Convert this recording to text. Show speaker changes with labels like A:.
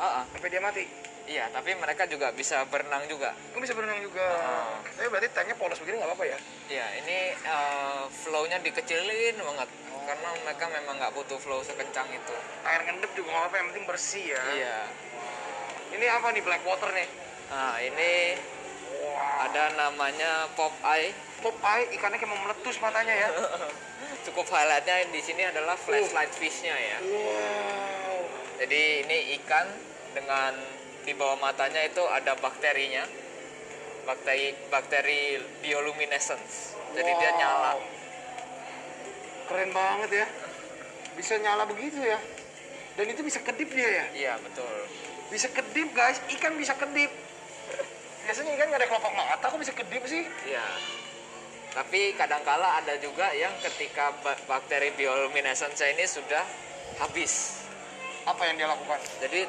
A: Ah, ah.
B: sampai dia mati
A: Iya, tapi mereka juga bisa berenang juga.
B: kan bisa berenang juga
A: Ah.
B: tapi berarti tanknya polos begini nggak apa-apa ya
A: Iya, ini eh, flow-nya dikecilin banget karena mereka memang nggak butuh flow sekencang itu.
B: air ngendep juga nggak apa-apa yang penting bersih ya
A: Iya.
B: ini apa nih black water nih
A: Nah, ini
B: wow.
A: ada namanya pop eye.
B: pop eye ikannya kayak mau meletus matanya ya
A: Cukup highlightnya di sini adalah flashlight fishnya ya.
B: wow
A: Jadi ini ikan dengan di bawah matanya itu ada bakterinya. Bakteri bakteri bioluminescence. Jadi dia
B: Wow.
A: nyala.
B: keren banget ya bisa nyala begitu ya dan itu bisa kedip dia ya
A: Iya, betul.
B: bisa kedip guys ikan bisa kedip biasanya ikan nggak ada kelopak mata kok bisa kedip sih
A: Iya. Tapi kadangkala ada juga yang ketika ba- bakteri bioluminescence ini sudah habis.
B: apa yang dia lakukan
A: Jadi